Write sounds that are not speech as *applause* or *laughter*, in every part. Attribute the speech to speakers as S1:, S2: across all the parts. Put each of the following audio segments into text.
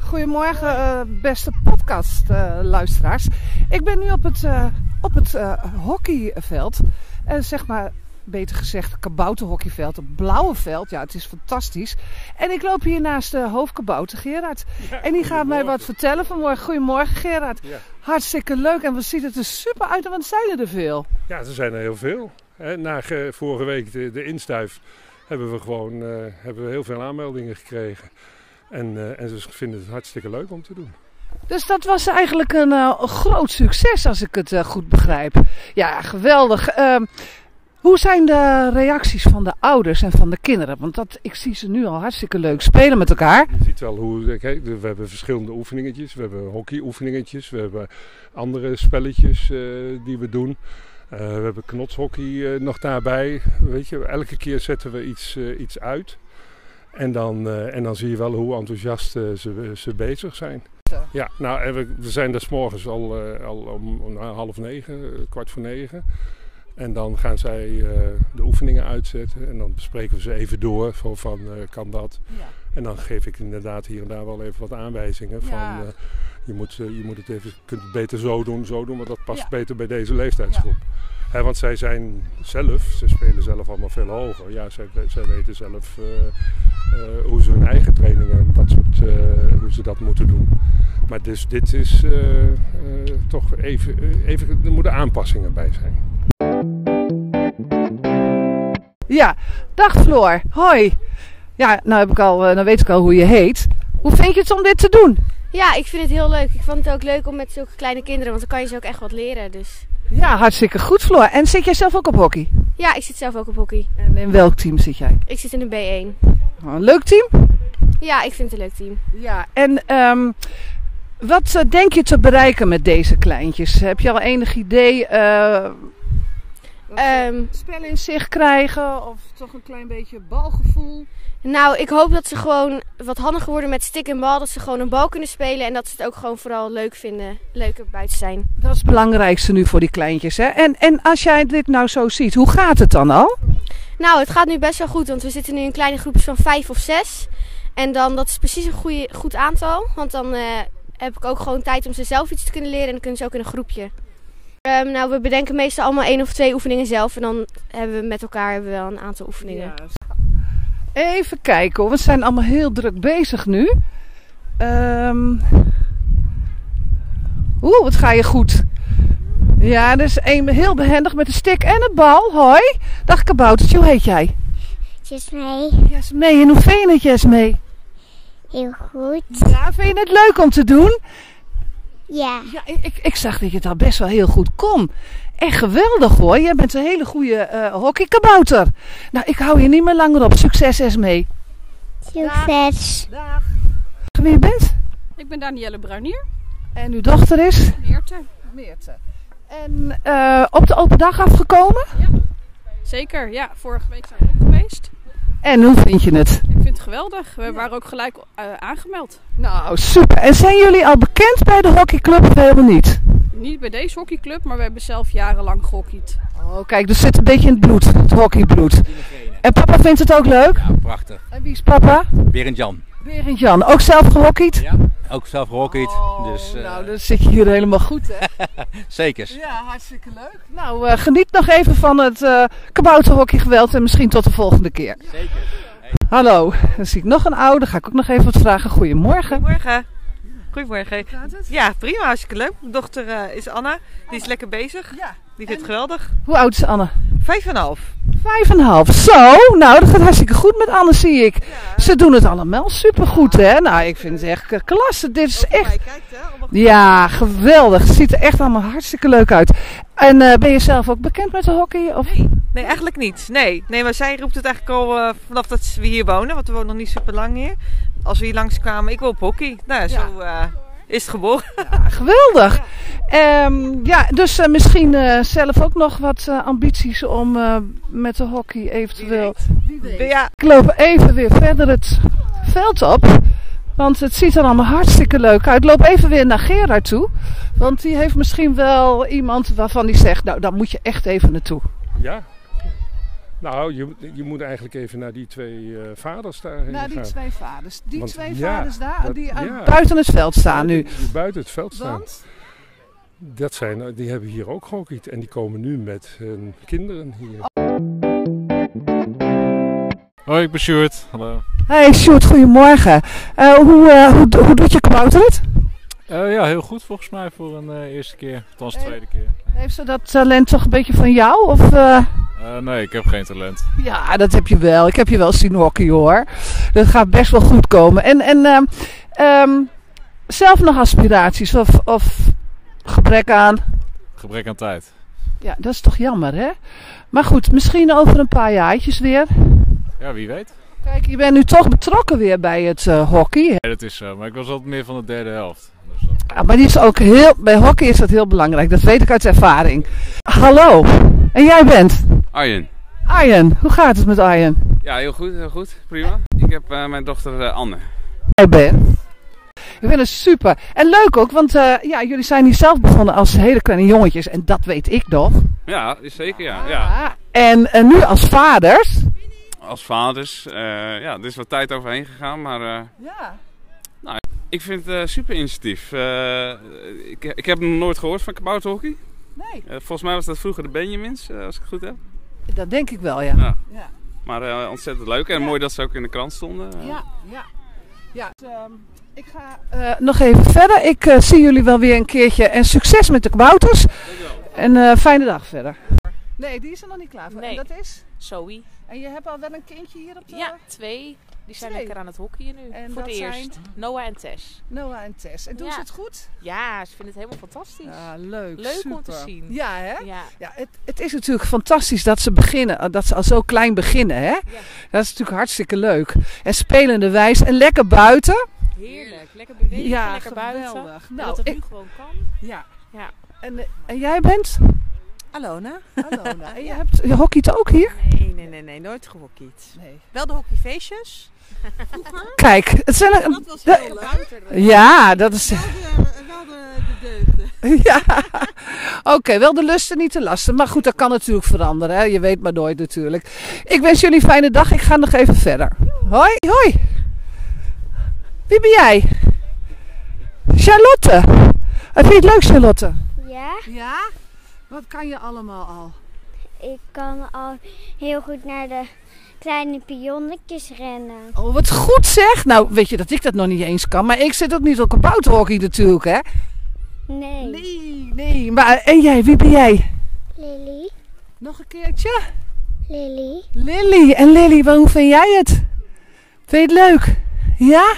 S1: Goedemorgen, eh, beste podcastluisteraars. ik ben nu op het, eh, op het eh, hockeyveld. Eh, zeg maar, beter gezegd, kabouterhockeyveld. Het blauwe veld. Ja, het is fantastisch. En ik loop hier naast de hoofdkabouter Gerard. en die gaat mij wat vertellen vanmorgen. Goedemorgen, Gerard.
S2: Ja.
S1: Hartstikke leuk. En wat ziet het er super uit. En wat zijn er er veel?
S2: Ja, er zijn er heel veel. Hè, Na ge- vorige week de, de instuif hebben we gewoon eh, hebben we heel veel aanmeldingen gekregen. En, eh, en ze vinden het hartstikke leuk om te doen.
S1: Dus dat was eigenlijk een eh, groot succes, als ik het eh, goed begrijp. Ja, geweldig. Ehm, hoe zijn de reacties van de ouders en van de kinderen? Want dat, ik zie ze nu al hartstikke leuk spelen met elkaar.
S2: Je ziet wel hoe, eh, kijk, we hebben verschillende oefeningetjes. We hebben hockeyoefeningetjes, we hebben andere spelletjes eh, die we doen. Eh, we hebben knotshockey eh, nog daarbij. Weet je, elke keer zetten we iets, eh, iets uit. En dan, eh, en dan zie je wel hoe enthousiast eh, ze, ze bezig zijn.
S1: Zo.
S2: Ja, nou, en we, we zijn dus morgens al, eh, al om, om half negen, eh, kwart voor negen. En dan gaan zij eh, de oefeningen uitzetten. En dan bespreken we ze even door. Van, van eh, kan dat? En dan geef ik inderdaad hier en daar wel even wat aanwijzingen. Van,
S1: Ja.
S2: eh, je, moet, eh, je moet het even, je kunt het beter zo doen, zo doen, maar dat past
S1: Ja.
S2: beter bij deze leeftijdsgroep. Hè, want zij zijn zelf, ze spelen zelf allemaal veel hoger. Ja, zij, zij weten zelf eh, eh, hoe ze hun eigen trainingen, dat soort, eh, hoe ze dat moeten doen. Maar dus dit is eh, eh, toch even, eh, even, er moeten aanpassingen bij zijn.
S1: Ja, dag Floor. Hoi. Ja, nou, heb ik al, eh, nou weet ik al hoe je heet. Hoe vind je het om dit te doen?
S3: Ja, ik vind het heel leuk. Ik vond het ook leuk om met zulke kleine kinderen, want dan kan je ze ook echt wat leren. Dus
S1: Ja, hartstikke goed Floor. En zit jij zelf ook op hockey?
S3: ja, ik zit zelf ook op hockey.
S1: En in welk team zit jij?
S3: Ik zit in de B1.
S1: Een leuk team?
S3: Ja, ik vind het een leuk team.
S1: Ja, en ehm, wat eh, denk je te bereiken met deze kleintjes? Heb je al enig idee? eh
S3: Ehm,
S1: spellen in zich krijgen of toch een klein beetje balgevoel?
S3: nou, ik hoop dat ze gewoon wat handiger worden met stick en bal. Dat ze gewoon een bal kunnen spelen en dat ze het ook gewoon vooral leuk vinden. Leuker buiten zijn.
S1: Dat is het belangrijkste nu voor die kleintjes. Hè? En, en als jij dit nou zo ziet, hoe gaat het dan al?
S3: Nou, het gaat nu best wel goed, want we zitten nu in kleine groepjes van vijf of zes. En dan, dat is precies een goede, goed aantal, want dan eh, heb ik ook gewoon tijd om ze zelf iets te kunnen leren en dan kunnen ze ook in een groepje. Ehm, nou, we bedenken meestal allemaal één of twee oefeningen zelf en dan hebben we met elkaar hebben we wel een aantal oefeningen.
S1: Even kijken hoor, we zijn allemaal heel druk bezig nu. Ehm Oeh, wat ga je goed. Ja, dus een heel behendig met de stick en de bal. Hoi. Dag kaboutertje, hoe heet jij?
S4: Is mij
S1: Jasmee, en hoe vind je het Jasmee?
S4: heel goed.
S1: Ja, vind je het leuk om te doen?
S4: Ja,
S1: Ja, ik, ik, ik zag dat je het al best wel heel goed kon. Echt geweldig hoor. Jij bent een hele goede eh, hockeykabouter. Nou, ik hou je niet meer langer op. Succes Esmee.
S4: succes.
S1: Dag. Wie je bent?
S5: Ik ben Danielle Bruinier,
S1: En uw dochter is?
S5: Meerte.
S1: Meerte. En eh, op de open dag afgekomen?
S5: Zeker, ja. Vorige week zijn we ook geweest.
S1: En hoe vind je het?
S5: Ik vind het geweldig. We waren ook gelijk eh, aangemeld.
S1: Nou, super. En zijn jullie al bekend bij de hockeyclub of helemaal niet?
S5: Niet bij deze hockeyclub, maar we hebben zelf jarenlang gehockeyd.
S1: Oh, kijk, dus zit een beetje in het bloed. Het hockeybloed. En papa vindt het ook leuk?
S6: Ja, prachtig.
S1: En wie is papa?
S6: Berend Jan.
S1: Berend Jan, ook zelf gehockeyd?
S6: Ja. Ook zelf gehockeyd.
S7: Oh,
S6: dus eh,
S1: nou, dan zit je hier helemaal goed, hè?
S6: zekers.
S1: *laughs* Ja, hartstikke leuk. Nou, eh, geniet nog even van het eh kabouterhockeygeweld en misschien tot de volgende keer.
S6: Zeker.
S1: Hallo, dan zie ik nog een oude. Ga ik ook nog even wat vragen. Goedemorgen.
S8: Goedemorgen. Goedemorgen. Ja, prima, hartstikke leuk. Mijn dochter eh, is Anna. Die is lekker bezig.
S1: Ja.
S8: Die vindt het geweldig.
S1: Hoe oud is Anne?
S8: Vijf en een half.
S1: Vijf en een half. Zo, nou, dat gaat hartstikke goed met Anne, zie ik. Ze doen het allemaal supergoed, hè? Nou, ik vind het echt eh, klasse. Dit is echt...
S8: Hij kijkt, hè? allemaal goed.
S1: Ja, geweldig. Ziet er echt allemaal hartstikke leuk uit. En eh, ben je zelf ook bekend met de hockey? Of?
S8: Nee, eigenlijk niet. Nee. nee, maar zij roept het eigenlijk al eh, vanaf dat we hier wonen. Want we wonen nog niet super lang hier. Als we hier langskwamen, ik wil op hockey. Nou, ja, zo eh, is het geboren.
S1: Geweldig. Ehm, ja, dus eh, misschien eh, zelf ook nog wat eh, ambities om eh, met de hockey eventueel.
S8: Ja,
S1: Ik loop even weer verder het veld op. Want het ziet er allemaal hartstikke leuk uit. Loop even weer naar Gerard toe. Want die heeft misschien wel iemand waarvan die zegt: Nou, daar moet je echt even naartoe.
S2: Ja. Nou, je, je moet eigenlijk even naar die twee eh, vaders daarheen
S1: Naar die
S2: gaan.
S1: twee vaders. Die
S2: Want
S1: twee
S2: ja,
S1: vaders daar,
S2: dat-
S1: die aan
S2: ja.
S1: buiten het veld staan nu.
S2: Die buiten het veld staan.
S1: Want?
S2: Dat zijn, eh, die hebben hier ook gehockeyd en die komen nu met hun kinderen hier.
S9: Hoi, ik ben Sjoerd. Hallo.
S1: Hey Sjoerd, goedemorgen. Eh, hoe, eh, hoe, do- hoe doet je kabouter het?
S9: Eh, ja, heel goed volgens mij voor een eh, eerste keer. Althans,
S1: Hey.
S9: tweede keer.
S1: Heeft ze dat talent toch een beetje van jou? Of, eh?
S9: Eh, nee, ik heb geen talent.
S1: Ja, dat heb je wel. Ik heb je wel zien hockeyen hoor. Dat gaat best wel goed komen. En, en ehm, ehm, zelf nog aspiraties of, of gebrek aan?
S9: Gebrek aan tijd.
S1: Ja, dat is toch jammer hè? Maar goed, misschien over een paar jaartjes weer.
S9: Ja, wie weet.
S1: Kijk, je bent nu toch betrokken weer bij het eh, hockey.
S9: Nee, dat is zo. Maar ik was altijd meer van de derde helft. Dus dat-
S1: Ja, maar die is ook heel, bij hockey is dat heel belangrijk. Dat weet ik uit ervaring. Hallo, en jij bent
S7: Arjen.
S1: Arjen. Hoe gaat het met Arjen?
S7: Ja, heel goed, heel goed. Prima. Ik heb eh, mijn dochter eh, Anne.
S1: Jij bent. Ik vind het super. En leuk ook, want eh, ja, jullie zijn hier zelf begonnen als hele kleine jongetjes. En dat weet ik nog.
S7: Ja, is zeker ja. ja.
S1: En eh, nu als vaders.
S7: Als vaders, eh, ja, er is wat tijd overheen gegaan, maar eh,
S1: Ja.
S7: ik vind het eh, super initiatief. Eh, ik, ik heb nog nooit gehoord van kabouterhockey.
S1: Nee.
S7: Eh, volgens mij was dat vroeger de Benjamins, eh, als ik het goed heb.
S1: Dat denk ik wel, ja.
S7: Ja.
S1: Ja.
S7: Maar eh, ontzettend leuk en
S1: Ja.
S7: mooi dat ze ook in de krant stonden. Eh,
S1: Ja, ja. ja. Dus, ehm, ik ga eh, nog even verder. Ik eh, zie jullie wel weer een keertje. En succes met de kabouters. En eh, fijne dag verder. Nee, die is er nog niet klaar voor.
S10: Nee.
S1: En dat is?
S10: Zoe.
S1: En je hebt al wel een kindje hier op de...
S10: Ja, twee. Die zijn
S1: Twee.
S10: lekker aan het hockeyen nu.
S1: En
S10: voor
S1: dat
S10: het eerst. Noah en Tess.
S1: Noah en Tess. En doen
S10: Ja.
S1: ze het goed?
S10: Ja, ze vinden het helemaal fantastisch.
S1: Ja, leuk.
S10: Leuk om
S1: super.
S10: te zien.
S1: Ja, hè?
S10: Ja.
S1: Ja, het, het is natuurlijk fantastisch dat ze beginnen, eh, dat ze al zo klein beginnen, hè? Dat is natuurlijk hartstikke leuk. En spelende wijs en lekker buiten.
S10: heerlijk. Lekker bewegen,
S1: ja,
S10: lekker buiten. En
S1: geweldig. Nou,
S10: dat het
S1: ik,
S10: nu gewoon kan.
S1: ja.
S10: Ja.
S1: En, eh, en jij bent?
S11: Alona?
S1: Alona. nou, En je hebt je hockeyt ook hier?
S11: Nee, nee, nee, nee, nooit gehockeyd.
S1: Nee.
S11: Wel de hockeyfeestjes.
S1: Kijk, het zijn er...
S11: Dat was heel leuk.
S1: Ja, dat is...
S11: Wel de, wel de, de deugden.
S1: *laughs* Ja. Oké, wel de lusten, niet de lasten. Maar goed, dat kan natuurlijk veranderen. Hè? Je weet maar nooit natuurlijk. Ik wens jullie een fijne dag. Ik ga nog even verder. Hoi, hoi. Wie ben jij? Charlotte. Vind je het leuk, Charlotte?
S4: Ja,
S1: Ja? Wat kan je allemaal al?
S4: ik kan al heel goed naar de kleine pionnetjes rennen.
S1: Oh, wat goed zeg. Nou, weet je dat ik dat nog niet eens kan. Maar ik zit ook niet op een bouwhockey natuurlijk, hè?
S4: Nee.
S1: Nee, nee. Maar, eh, en jij, wie ben jij?
S4: Lily,
S1: Nog een keertje.
S4: Lily,
S1: Lily. En Lily, wa- hoe vind jij het? Vind je het leuk? Ja?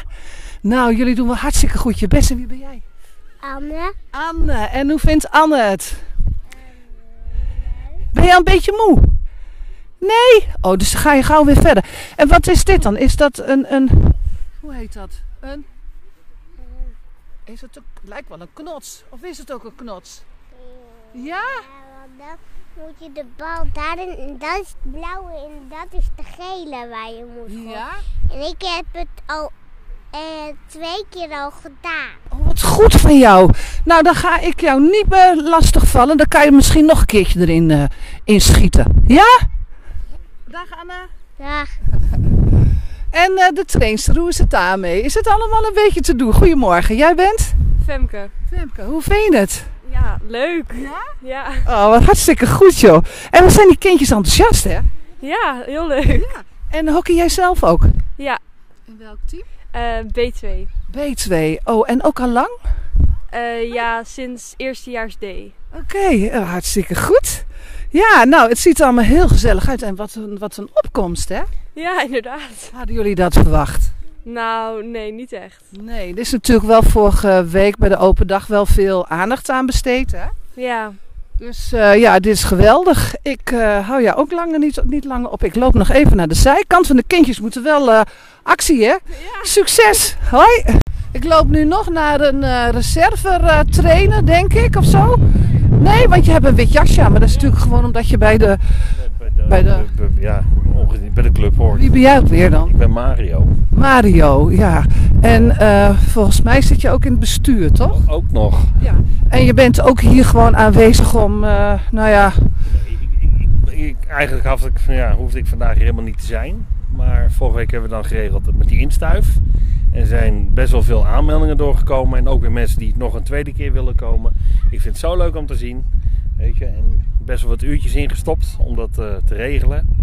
S1: Nou, jullie doen wel hartstikke goed je best. En wie ben jij?
S4: Anne,
S1: Anne. En hoe vindt Anne het? Ben je al een beetje moe? Nee? Oh, dus dan ga je gauw weer verder. En wat is dit dan? Is dat een... een... Hoe heet dat? Een... Is het ook... lijkt wel een knots. Of is het ook een knots? Ja?
S4: want dan moet je de bal daarin, dat is het blauwe en dat is de gele waar je moet gooien.
S1: Ja?
S4: En ik heb het al eh, twee keer al gedaan.
S1: Oh, wat goed van jou. Nou, dan ga ik jou niet meer lastigvallen. Dan kan je misschien nog een keertje erin eh, inschieten. Ja? Dag Anna.
S4: Dag.
S1: En eh, de trainster, hoe is het daarmee? Is het allemaal een beetje te doen? Goedemorgen, jij bent?
S10: Femke.
S1: Femke, hoe vind je het?
S10: Ja, leuk. Ja? Ja,
S1: Oh, wat hartstikke goed joh. En we zijn die kindjes enthousiast hè?
S10: ja heel leuk.
S1: En hockey jij zelf ook?
S10: Ja.
S1: In welk team?
S10: B2.
S1: B2. Oh, en ook al lang?
S10: Eh, ja, sinds eerstejaars D.
S1: Oké, eh, hartstikke goed. Ja, nou, het ziet er allemaal heel gezellig uit. En wat een, wat een opkomst hè?
S10: Ja, inderdaad.
S1: Hadden jullie dat verwacht?
S10: Nou, nee, niet echt.
S1: Nee, er is natuurlijk wel vorige week bij de open dag wel veel aandacht aan besteed. Hè?
S10: Ja.
S1: Dus eh, ja, dit is geweldig. Ik eh, hou ja ook langer niet, niet langer op. Ik loop nog even naar de zijkant, want de kindjes moeten wel eh, actie, hè? Succes! Hoi! Ik loop nu nog naar een eh reserve eh, trainer, denk ik, of zo. Nee, want je hebt een wit jasje aan, maar dat is natuurlijk gewoon omdat je bij de...
S12: Bij de,
S1: Bij de-
S12: bij- bij- ja, onge- bij de club hoort.
S1: Wie ben jij ook weer dan?
S12: Ik ben Mario.
S1: Mario, ja. En eh, volgens mij zit je ook in het bestuur, toch?
S12: Ook nog.
S1: En je bent ook hier gewoon aanwezig om, eh, nou ja,
S12: Ik, ik, ik, ik, eigenlijk had ik van, ja, hoefde ik vandaag hier helemaal niet te zijn. Maar vorige week hebben we dan geregeld met die instuif. Er zijn best wel veel aanmeldingen doorgekomen. En ook weer mensen die nog een tweede keer willen komen. Ik vind het zo leuk om te zien. Weet je, en best wel wat uurtjes ingestopt om dat eh, te regelen.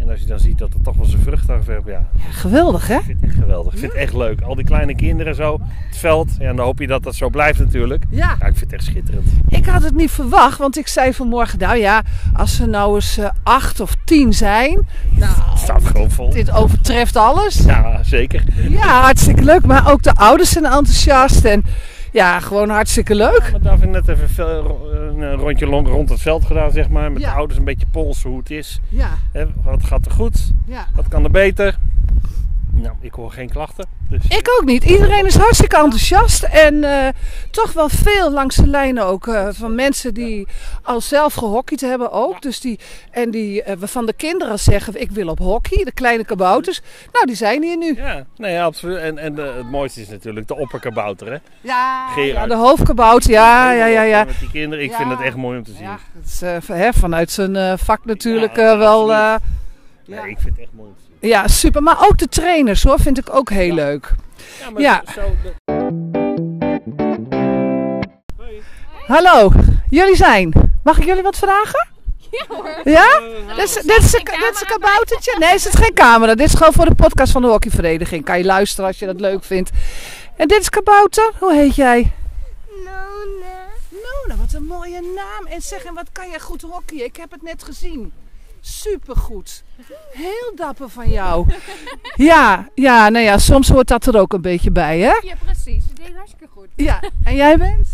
S12: En als je dan ziet dat het toch wel zijn vrucht afwerpt, ja.
S1: Geweldig, hè?
S12: Ik vind het echt geweldig. Ik vind het echt leuk. Al die kleine kinderen zo, het veld. Ja, en dan hoop je dat dat zo blijft natuurlijk.
S1: Ja.
S12: ik vind het echt schitterend.
S1: Ik had het niet verwacht, want ik zei vanmorgen, nou ja, als ze nou eens eh, acht of tien zijn,
S12: Het staat gewoon vol.
S1: dit overtreft alles.
S12: Ja, zeker.
S1: Ja, hartstikke leuk. Maar ook de ouders zijn enthousiast en ja, gewoon hartstikke leuk.
S12: Maar daar net even veel- ro- een rondje long- rond het veld gedaan, zeg maar. Met de ouders een beetje polsen hoe het is.
S1: Ja.
S12: Hè, wat gaat er goed?
S1: Ja.
S12: Wat kan er beter? Nou, ik hoor geen klachten. Dus
S1: Ik ook niet. Iedereen is hartstikke enthousiast. En eh, toch wel veel langs de lijnen ook. eh, van mensen die al zelf gehockeyd hebben ook. Dus die, en die eh, waarvan de kinderen zeggen, ik wil op hockey. De kleine kabouters. Nou, die zijn hier nu.
S12: Ja, nee, absoluut. En, en eh, het mooiste is natuurlijk de opperkabouter, hè?
S1: Ja,
S12: Gerard.
S1: Ja, de hoofdkabouter. Ja, ja, ja, ja.
S12: Met die kinderen, ik
S1: Ja.
S12: vind het echt mooi om te zien.
S1: Dat is, eh, van- hè, vanuit zijn eh, vak natuurlijk
S12: Ja,
S1: eh, wel... eh,
S12: absoluut. Nee, ik vind het echt mooi. om te zien.
S1: ja, super. Maar ook de trainers hoor, vind ik ook heel leuk. Ja.
S12: maar zo-
S1: Hallo, jullie zijn. Mag ik jullie wat vragen?
S13: Ja hoor.
S1: Ja?
S12: Eh,
S1: Dit is, dit is, een, dit is een kaboutertje. Nee, is het geen camera. Dit is gewoon voor de podcast van de hockeyvereniging. Kan je luisteren als je dat leuk vindt. En dit is kabouter. Hoe heet jij?
S4: Nona.
S1: Nona, wat een mooie naam. En zeg, en wat kan jij goed hockeyen? Ik heb het net gezien. Supergoed. Heel dapper van jou. Ja, ja, nou ja, soms hoort dat er ook een beetje bij, hè?
S13: Ja, precies. Ze deed hartstikke goed.
S1: Ja, en jij bent?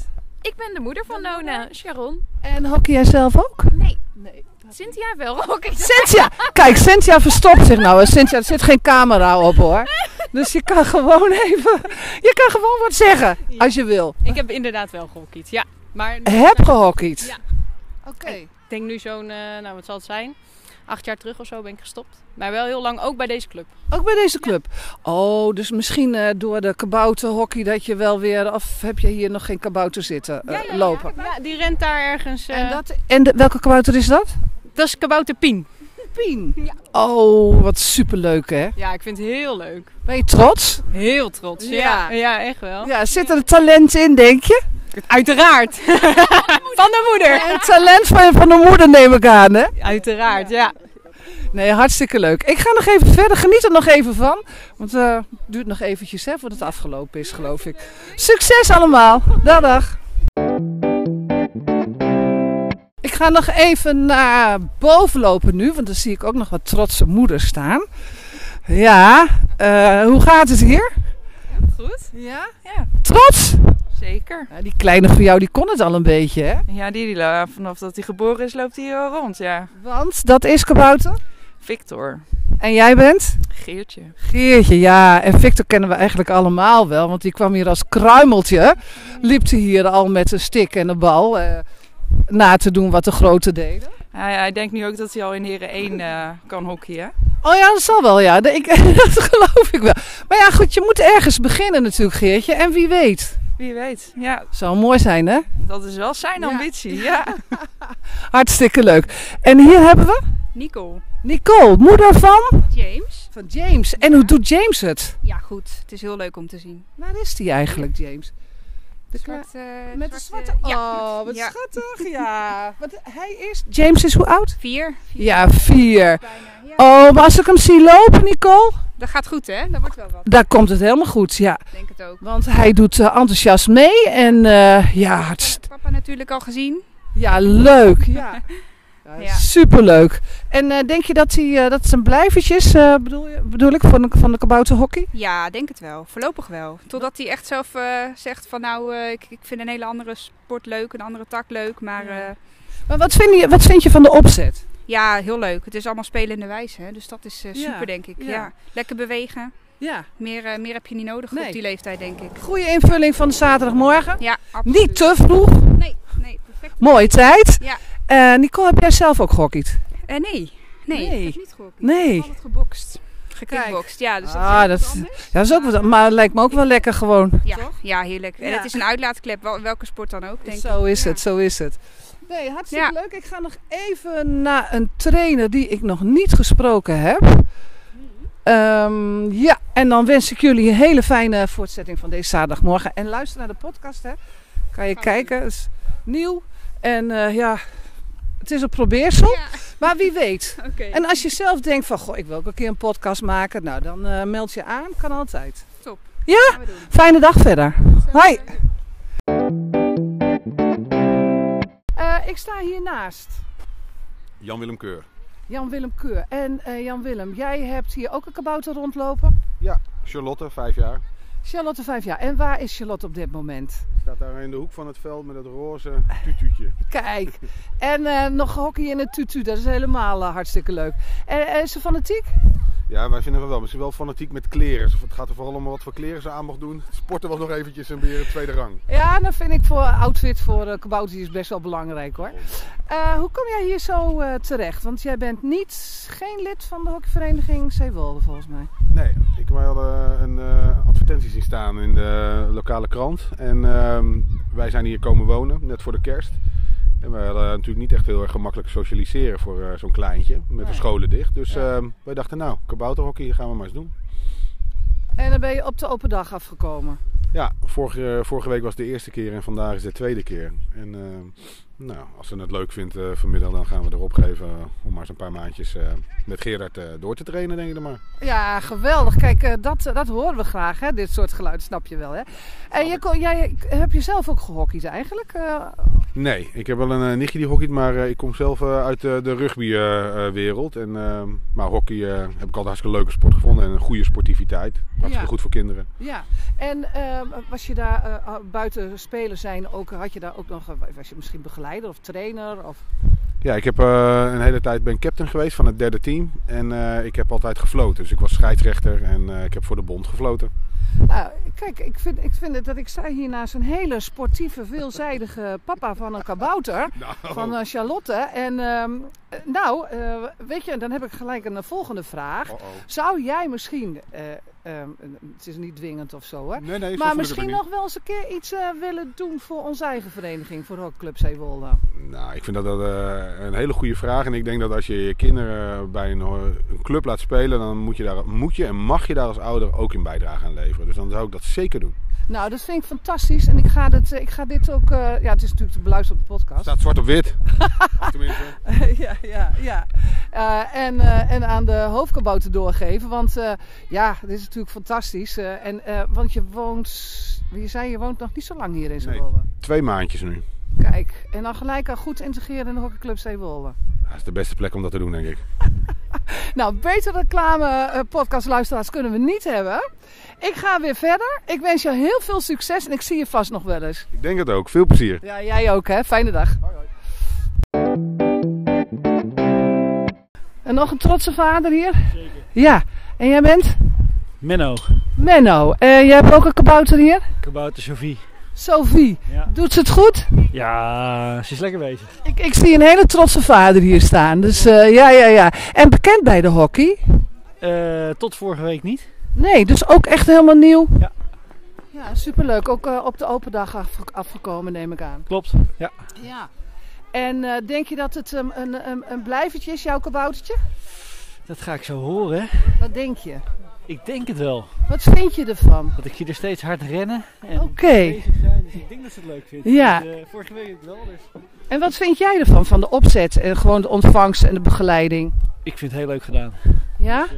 S13: Ik ben de moeder van Nona, Sharon.
S1: En hockey jij zelf ook?
S13: Nee. nee. Cynthia wel. Oké.
S1: Cynthia, kijk, Cynthia verstopt zich nou. hè. Cynthia, er zit geen camera op hoor. Dus je kan gewoon even, je kan gewoon wat zeggen als je wil.
S14: Ik heb inderdaad wel gehockeyd, ja. Maar
S1: Heb gehockeyd?
S14: Ja.
S1: Oké.
S14: Ik denk nu zo'n, eh, nou wat zal het zijn, acht jaar terug of zo ben ik gestopt. Maar wel heel lang ook bij deze club.
S1: Ook bij deze club. Oh, dus misschien eh, door de kabouterhockey dat je wel weer, of heb je hier nog geen kabouter zitten eh, lopen?
S14: Ja, Dus, eh, die rent daar ergens. en dat...
S1: En de- welke kabouter is dat?
S14: dat is kabouter Pien.
S1: Pien? Ja. Oh, wat superleuk hè?
S14: ja, ik vind het heel leuk.
S1: Ben je trots?
S14: Heel trots, ja. Ja, echt wel.
S1: Ja, zit er talent in, denk
S14: *laughs*
S1: je?
S8: *laughs*
S14: Uiteraard. van de moeder.
S1: En talent van, van de moeder neem ik aan, hè?
S14: Uiteraard, ja.
S1: Nee, hartstikke leuk. Ik ga nog even verder. Geniet er nog even van. Want eh, het duurt nog eventjes hè, voordat het afgelopen is, geloof ik. Succes allemaal. Dag, dag. Ik ga nog even naar boven lopen nu. Want dan zie ik ook nog wat trotse moeders staan. Ja, eh, hoe gaat het hier?
S8: Goed?
S1: Ja?
S8: Ja.
S1: Trots!
S8: Zeker.
S1: Die kleine van jou, die kon het al een beetje, hè?
S8: Ja, die, die lo- vanaf dat hij geboren is, loopt hij hier al rond, ja.
S1: Want dat is kabouter.
S8: Victor.
S1: En jij bent?
S8: Geertje.
S1: Geertje, ja. En Victor kennen we eigenlijk allemaal wel. Want die kwam hier als kruimeltje. Liep hij hier al met een stick en een bal. eh, na te doen wat de grote deden.
S8: Hij, hij denkt nu ook dat hij al in Heren 1 eh, kan hockeyen.
S1: Oh ja, dat zal wel, ja. De- Ik, *laughs* dat geloof ik wel. Maar ja, goed, je moet ergens beginnen natuurlijk, Geertje. En wie weet.
S8: Wie weet. Ja,
S1: Zou mooi zijn, hè?
S8: dat is wel zijn ambitie, ja.
S1: Hartstikke leuk. En hier hebben we
S15: Nicole.
S1: Nicole, moeder van
S15: James.
S1: Van James. En hoe doet James het?
S15: Ja, goed. Het is heel leuk om te zien.
S1: Waar is die eigenlijk, James? De
S15: met
S1: de
S15: eh, zwarte...
S1: Oh, wat schattig, *laughs* ja. Want hij is... James is hoe oud?
S15: Vier.
S1: Ja, vier. Oh, maar als ik hem zie lopen, Nicole,
S15: Dat gaat goed, hè? Dat wordt wel wat.
S1: daar komt het helemaal goed, ja.
S15: Denk het ook.
S1: Want hij doet eh, enthousiast mee en eh, ja, hartst-
S15: Papa natuurlijk al gezien.
S1: ja, leuk. Ja,
S15: Ja.
S1: Superleuk. En eh, denk je dat, hij, eh, dat zijn blijvertjes, eh, bedoel, je, bedoel ik, van de, van de kabouterhockey?
S15: Ja, denk het wel. Voorlopig wel. Totdat hij echt zelf eh, zegt van nou, eh, ik, ik vind een hele andere sport leuk, een andere tak leuk. Maar eh,
S1: Maar wat vind, je, wat vind je van de opzet?
S15: ja, heel leuk. Het is allemaal spelende wijze, hè? dus dat is eh,
S1: Ja,
S15: super, denk ik.
S1: ja.
S15: Ja. Lekker bewegen.
S1: Ja.
S15: Meer, eh, meer heb je niet nodig
S1: Nee.
S15: op die leeftijd, denk ik.
S1: Goede invulling van de zaterdagmorgen.
S15: Ja,
S1: Niet eh. te vroeg.
S15: Nee, nee, perfect.
S1: Mooie tijd.
S15: Ja.
S1: Eh, Nicole, heb jij zelf ook gehockeyd?
S15: Eh, nee. Nee,
S1: Nee.
S15: ik heb niet gehockeyd.
S1: Nee.
S15: Ik heb altijd gebokst. Gekickbokst, ja. Dus dat is
S1: ah,
S15: heel
S1: dat,
S15: wat anders.
S1: ja, dat is ook wat, maar het lijkt me ook wel lekker gewoon.
S15: Ja, ja heerlijk. En
S1: Ja.
S15: het is een uitlaatklep, wel- welke sport dan ook, denk ik.
S1: Zo is het, zo is het. Nee, hartstikke leuk. Ik ga nog even naar een trainer die ik nog niet gesproken heb. Ehm, ja, en dan wens ik jullie een hele fijne voortzetting van deze zaterdagmorgen. En luister naar de podcast, hè. Kan je kijken, het is nieuw. En eh, ja, het is een probeersel, maar wie weet.
S5: *laughs* Oké.
S1: En als je zelf denkt van, goh, ik wil ook een keer een podcast maken. Nou, dan eh, meld je aan, kan altijd.
S5: Top.
S1: Ja, fijne dag verder. Hoi. Eh, ik sta hiernaast.
S16: Jan-Willem Keur.
S1: Jan-Willem Keur. En eh, Jan-Willem, jij hebt hier ook een kabouter rondlopen.
S16: Ja. Charlotte, vijf jaar.
S1: Charlotte, vijf jaar. En waar is Charlotte op dit moment?
S16: Staat daar in de hoek van het veld met het roze *laughs* tutuutje.
S1: Kijk. En eh, nog hockey in het tutu. Dat is helemaal eh, hartstikke leuk. En eh, is ze fanatiek?
S16: Ja, wij vinden het wel. Maar ze is wel fanatiek met kleren. Ze- Het gaat er vooral om wat voor kleren ze aan mag doen. Sporten was nog eventjes en weer tweede rang.
S1: Ja, dat vind ik voor outfit voor eh kabouters is best wel belangrijk hoor. Eh, hoe kom jij hier zo eh, terecht? Want jij bent niet, geen lid van de hockeyvereniging Zeewolde volgens mij.
S16: Nee, ik had een eh, advertentie zien staan in de lokale krant. En ehm, wij zijn hier komen wonen, net voor de kerst. En we hadden natuurlijk niet echt heel erg gemakkelijk socialiseren voor eh, zo'n kleintje. Met de
S1: Nee.
S16: scholen dicht. Dus ehm, wij dachten, nou, kabouterhockey gaan we maar eens doen.
S1: En dan ben je op de open dag afgekomen.
S16: Ja, vorige, eh, vorige week was de eerste keer en vandaag is de tweede keer. En eh, nou, als ze het leuk vindt eh, vanmiddag, dan gaan we erop geven eh, om maar eens een paar maandjes eh, met Gerard eh, door te trainen, denk ik dan maar.
S1: Ja, geweldig. Kijk, eh, dat, dat horen we graag, hè? dit soort geluid, snap je wel. Hè? En je, kon- jij heb je zelf ook gehockeyd eigenlijk? Eh,
S16: Nee, ik heb wel een eh, nichtje die hockeyt, maar eh, ik kom zelf eh, uit eh, de rugbywereld. en eh, maar hockey eh, heb ik altijd een hartstikke leuke sport gevonden en een goede sportiviteit. Hartstikke
S1: Ja.
S16: goed voor kinderen.
S1: ja, en eh, was je daar eh, buiten spelen zijn ook, had je daar ook nog, eh, was je misschien begeleider of trainer? Of...
S16: Ja, ik heb, eh, een hele tijd ben ik captain geweest van het derde team. En eh, ik heb altijd gefloten. Dus ik was scheidsrechter en eh, ik heb voor de bond gefloten.
S1: Nou, kijk, ik vind, ik vind het dat ik sta hier naast een hele sportieve, veelzijdige papa van een kabouter.
S16: Oh. Nou.
S1: Van eh, Charlotte. En ehm, eh, nou, eh, weet je, dan heb ik gelijk een eh, volgende vraag.
S16: Oh.
S1: Zou jij misschien, eh, ehm, het is niet dwingend of zo hè,
S16: nee, zo voel ik
S1: maar
S16: het
S1: misschien
S16: niet.
S1: nog wel eens een keer iets eh, willen doen voor onze eigen vereniging, voor Hockeyclub Zeewolde?
S16: Nou, ik vind dat, dat eh, een hele goede vraag. En ik denk dat als je je kinderen bij een, eh, een club laat spelen, dan moet je, daar, moet je en mag je daar als ouder ook in bijdrage aan leveren. Dus dan zou ik dat zeker doen.
S1: Nou, dat vind ik fantastisch. En ik ga, dit, eh, ik ga dit ook, eh, ja, het is natuurlijk te beluisteren op de podcast. *laughs*
S16: Staat zwart op wit.
S1: ja, ja, ja. Eh, en, eh, en aan de hoofdkabouter doorgeven. Want eh, ja, dit is natuurlijk fantastisch. eh, en, eh, want je woont, je zei je woont nog niet zo lang hier in Zeewolde.
S16: Twee maandjes nu.
S1: Kijk, en dan gelijk al goed integreren in de hockeyclub Zeewolde.
S16: Dat is de beste plek om dat te doen, denk ik.
S1: Nou, beter reclame eh, podcastluisteraars kunnen we niet hebben. Ik ga weer verder. Ik wens je heel veel succes en ik zie je vast nog wel eens.
S16: Ik denk het ook. Veel plezier.
S1: Ja, jij ook hè. Fijne dag. En nog een trotse vader hier? Zeker. Ja. En jij bent?
S17: Menno,
S1: Menno. En jij hebt ook een kabouter hier?
S17: kabouter Sophie.
S1: Sophie. Doet ze het goed?
S17: Ja, ze is lekker bezig.
S1: Ik, ik zie een hele trotse vader hier staan. Dus eh, ja, ja, ja. En bekend bij de hockey?
S17: Eh, tot vorige week niet.
S1: Nee, dus ook echt helemaal nieuw? Ja. Ja, superleuk. Ook eh, op de open dag afge- afgekomen, neem ik aan.
S17: Klopt, ja.
S1: Ja. En eh, denk je dat het ehm, een, een, een blijvertje is, jouw kaboutertje?
S17: Dat ga ik zo horen.
S1: Wat denk je?
S17: Ik denk het wel.
S1: Wat vind je ervan?
S17: Want ik zie er steeds hard rennen. en
S1: Oké.
S17: bezig zijn, Dus ik denk dat ze het leuk vindt.
S1: Ja.
S17: Dus, eh, vorige week het wel, dus...
S1: En wat vind jij ervan, van de opzet en gewoon de ontvangst en de begeleiding?
S17: Ik vind het heel leuk gedaan.
S1: Ja?
S17: Dus, eh,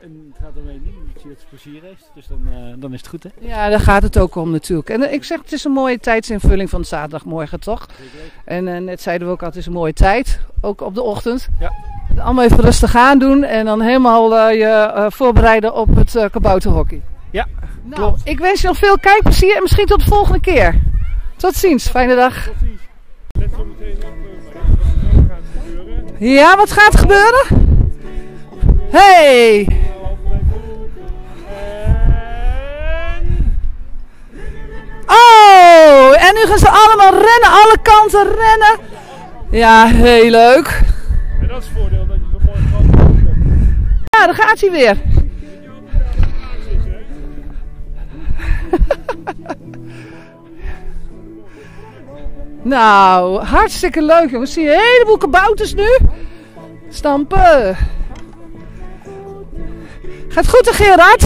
S17: en het gaat ermee niet omdat je het plezier heeft. Dus dan, eh, dan is het goed, hè?
S1: Ja, daar gaat het ook om natuurlijk. En eh, ik zeg, het is een mooie tijdsinvulling van zaterdagmorgen, toch? En eh, net zeiden we ook al, het is een mooie tijd, ook op de ochtend.
S17: Ja.
S1: Allemaal even rustig aan doen en dan helemaal eh, je eh, voorbereiden op het eh, kabouterhockey.
S17: Ja,
S1: Nou, ik wens je nog veel kijkplezier en misschien tot de volgende keer. Tot ziens, fijne dag.
S2: Let zo meteen op
S1: Ja,
S2: eh, wat gaat gebeuren.
S1: wat gaat er gebeuren? Hey! Oh, en nu gaan ze allemaal rennen, alle kanten rennen. Ja, heel leuk.
S2: En dat is het voordeel dat je zo mooi kan.
S1: Ja, daar gaat hij weer. *laughs* Nou, hartstikke leuk jongens. Zie je een heleboel kabouters nu. Stampen. Gaat goed hè Gerard?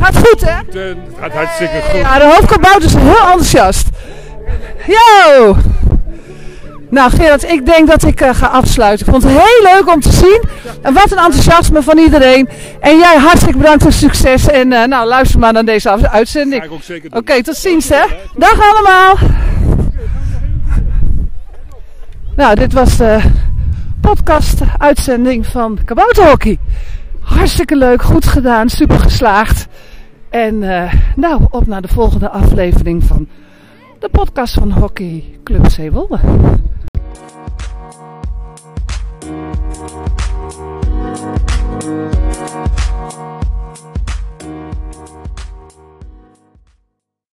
S1: Gaat goed hè?
S2: Het gaat hartstikke goed.
S1: Ja, de hoofdkabouters zijn heel enthousiast. Yo! Nou Gerard, ik denk dat ik eh, ga afsluiten. Ik vond het heel leuk om te zien. En wat een enthousiasme van iedereen. En jij hartstikke bedankt voor het succes. En eh, nou, luister maar naar deze af- uitzending.
S2: Ga ik ook zeker
S1: Oké,
S2: doen.
S1: tot ziens hè. Dag allemaal. Nou, dit was de podcast-uitzending van Kabouterhockey. Hartstikke leuk, goed gedaan, super geslaagd. En eh, nou, op naar de volgende aflevering van de podcast van Hockey Club Zeewolde.